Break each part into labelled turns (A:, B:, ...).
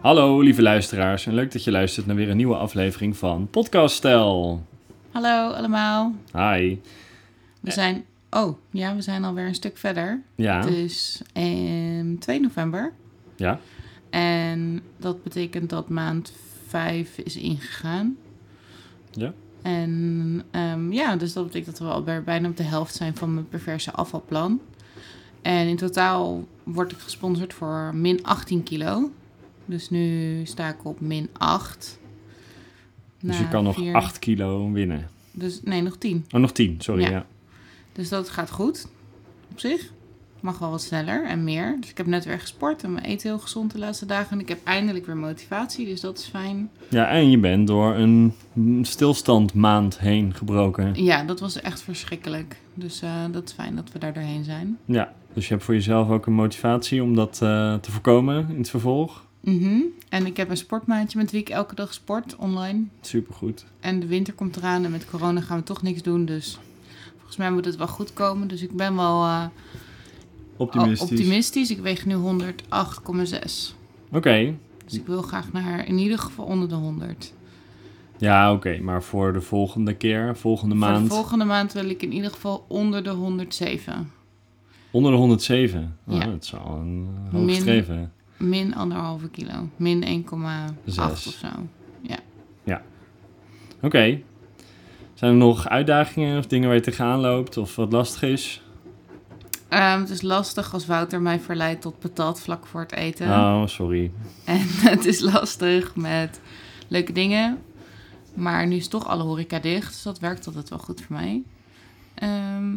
A: Hallo lieve luisteraars en leuk dat je luistert naar weer een nieuwe aflevering van Podcast Stel.
B: Hallo allemaal.
A: Hi.
B: We zijn. Oh, ja, we zijn alweer een stuk verder.
A: Eh. Ja,
B: Het is ehm, 2 november.
A: ja,
B: En dat betekent dat maand 5 is ingegaan.
A: Ja.
B: En ehm, ja, dus dat betekent dat we al bij- bijna op de helft zijn van mijn perverse afvalplan. En in totaal word ik gesponsord voor min 18 kilo. Dus nu sta ik op min 8.
A: dus je
B: Na
A: kan nog
B: vier-
A: 8 kilo winnen.
B: Dus, nee, nog 10.
A: Oh, nog 10, sorry. Ja.
B: Ja. Dus dat gaat goed. Op zich. Mag wel wat sneller en meer. Dus ik heb net weer gesport en we eten heel gezond de laatste dagen. En ik heb eindelijk weer motivatie, dus dat is fijn.
A: Ja, en je bent door een stilstand maand heen gebroken.
B: Ja, dat was echt verschrikkelijk. Dus eh, dat is fijn dat we daar doorheen zijn.
A: Ja, dus je hebt voor jezelf ook een motivatie om dat eh, te voorkomen in het vervolg.
B: Mhm. En ik heb een sportmaatje met wie ik elke dag sport online.
A: Supergoed.
B: En de winter komt eraan en met corona gaan we toch niks doen. Dus volgens mij moet het wel goed komen. Dus ik ben wel eh,
A: Optimistisch.
B: Oh, optimistisch. Ik weeg nu 108,6.
A: Oké,
B: Dus ik wil graag naar in ieder geval onder de 100.
A: ja oké, maar voor de volgende keer, volgende maand,
B: Voor de volgende maand wil ik in ieder geval onder de 107.
A: onder de 107. Oh,
B: Ja.
A: Dat is al een
B: Min-
A: hoog streven.
B: Min anderhalve kilo. Min 1,8
A: Zes.
B: of zo.
A: Oké. Zijn er nog uitdagingen of dingen waar je tegenaan loopt of wat lastig is?
B: Ehm, het is lastig als Wouter mij verleidt tot patat vlak voor het eten.
A: Oh, sorry.
B: En het is lastig met leuke dingen. Maar nu is toch alle horeca dicht. Dus dat werkt altijd wel goed voor mij. Ehm,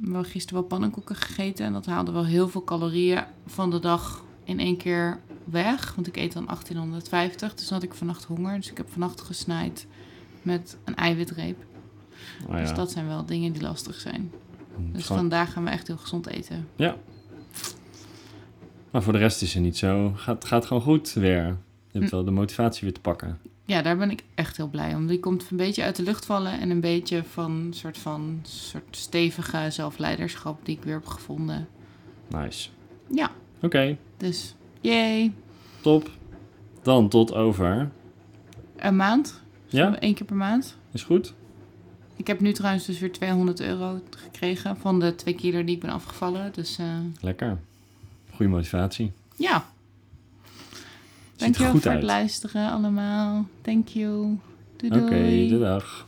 B: we hebben gisteren wel pannenkoeken gegeten. En dat haalde wel heel veel calorieën van de dag in één keer weg. Want ik eet dan 1850. Dus dan had ik vannacht honger. Dus ik heb vannacht gesnijd met een eiwitreep.
A: Oh, ja.
B: Dus dat zijn wel dingen die lastig zijn. Dus
A: Gewoon-
B: vandaag gaan we echt heel gezond eten.
A: Maar voor de rest is het niet zo. Gaat, gaat gewoon goed weer. Je
B: Hm.
A: hebt wel de motivatie weer te pakken.
B: Ja, daar ben ik echt heel blij om. Die komt een beetje uit de lucht vallen en een beetje van een soort van soort stevige zelfleiderschap die ik weer heb gevonden.
A: Nice.
B: Ja,
A: Oké,
B: dus yay.
A: top. Dan tot over.
B: Een maand?
A: Ja?
B: Eén keer per maand.
A: Is goed?
B: Ik heb nu trouwens dus weer 200 euro gekregen van de twee kilo die ik ben afgevallen. Dus eh,
A: Lekker. Goede motivatie.
B: ja,
A: Ziet er
B: dankjewel
A: goed
B: voor
A: uit.
B: het luisteren allemaal. Thank you. Doei
A: Oké,
B: doei.
A: de dag.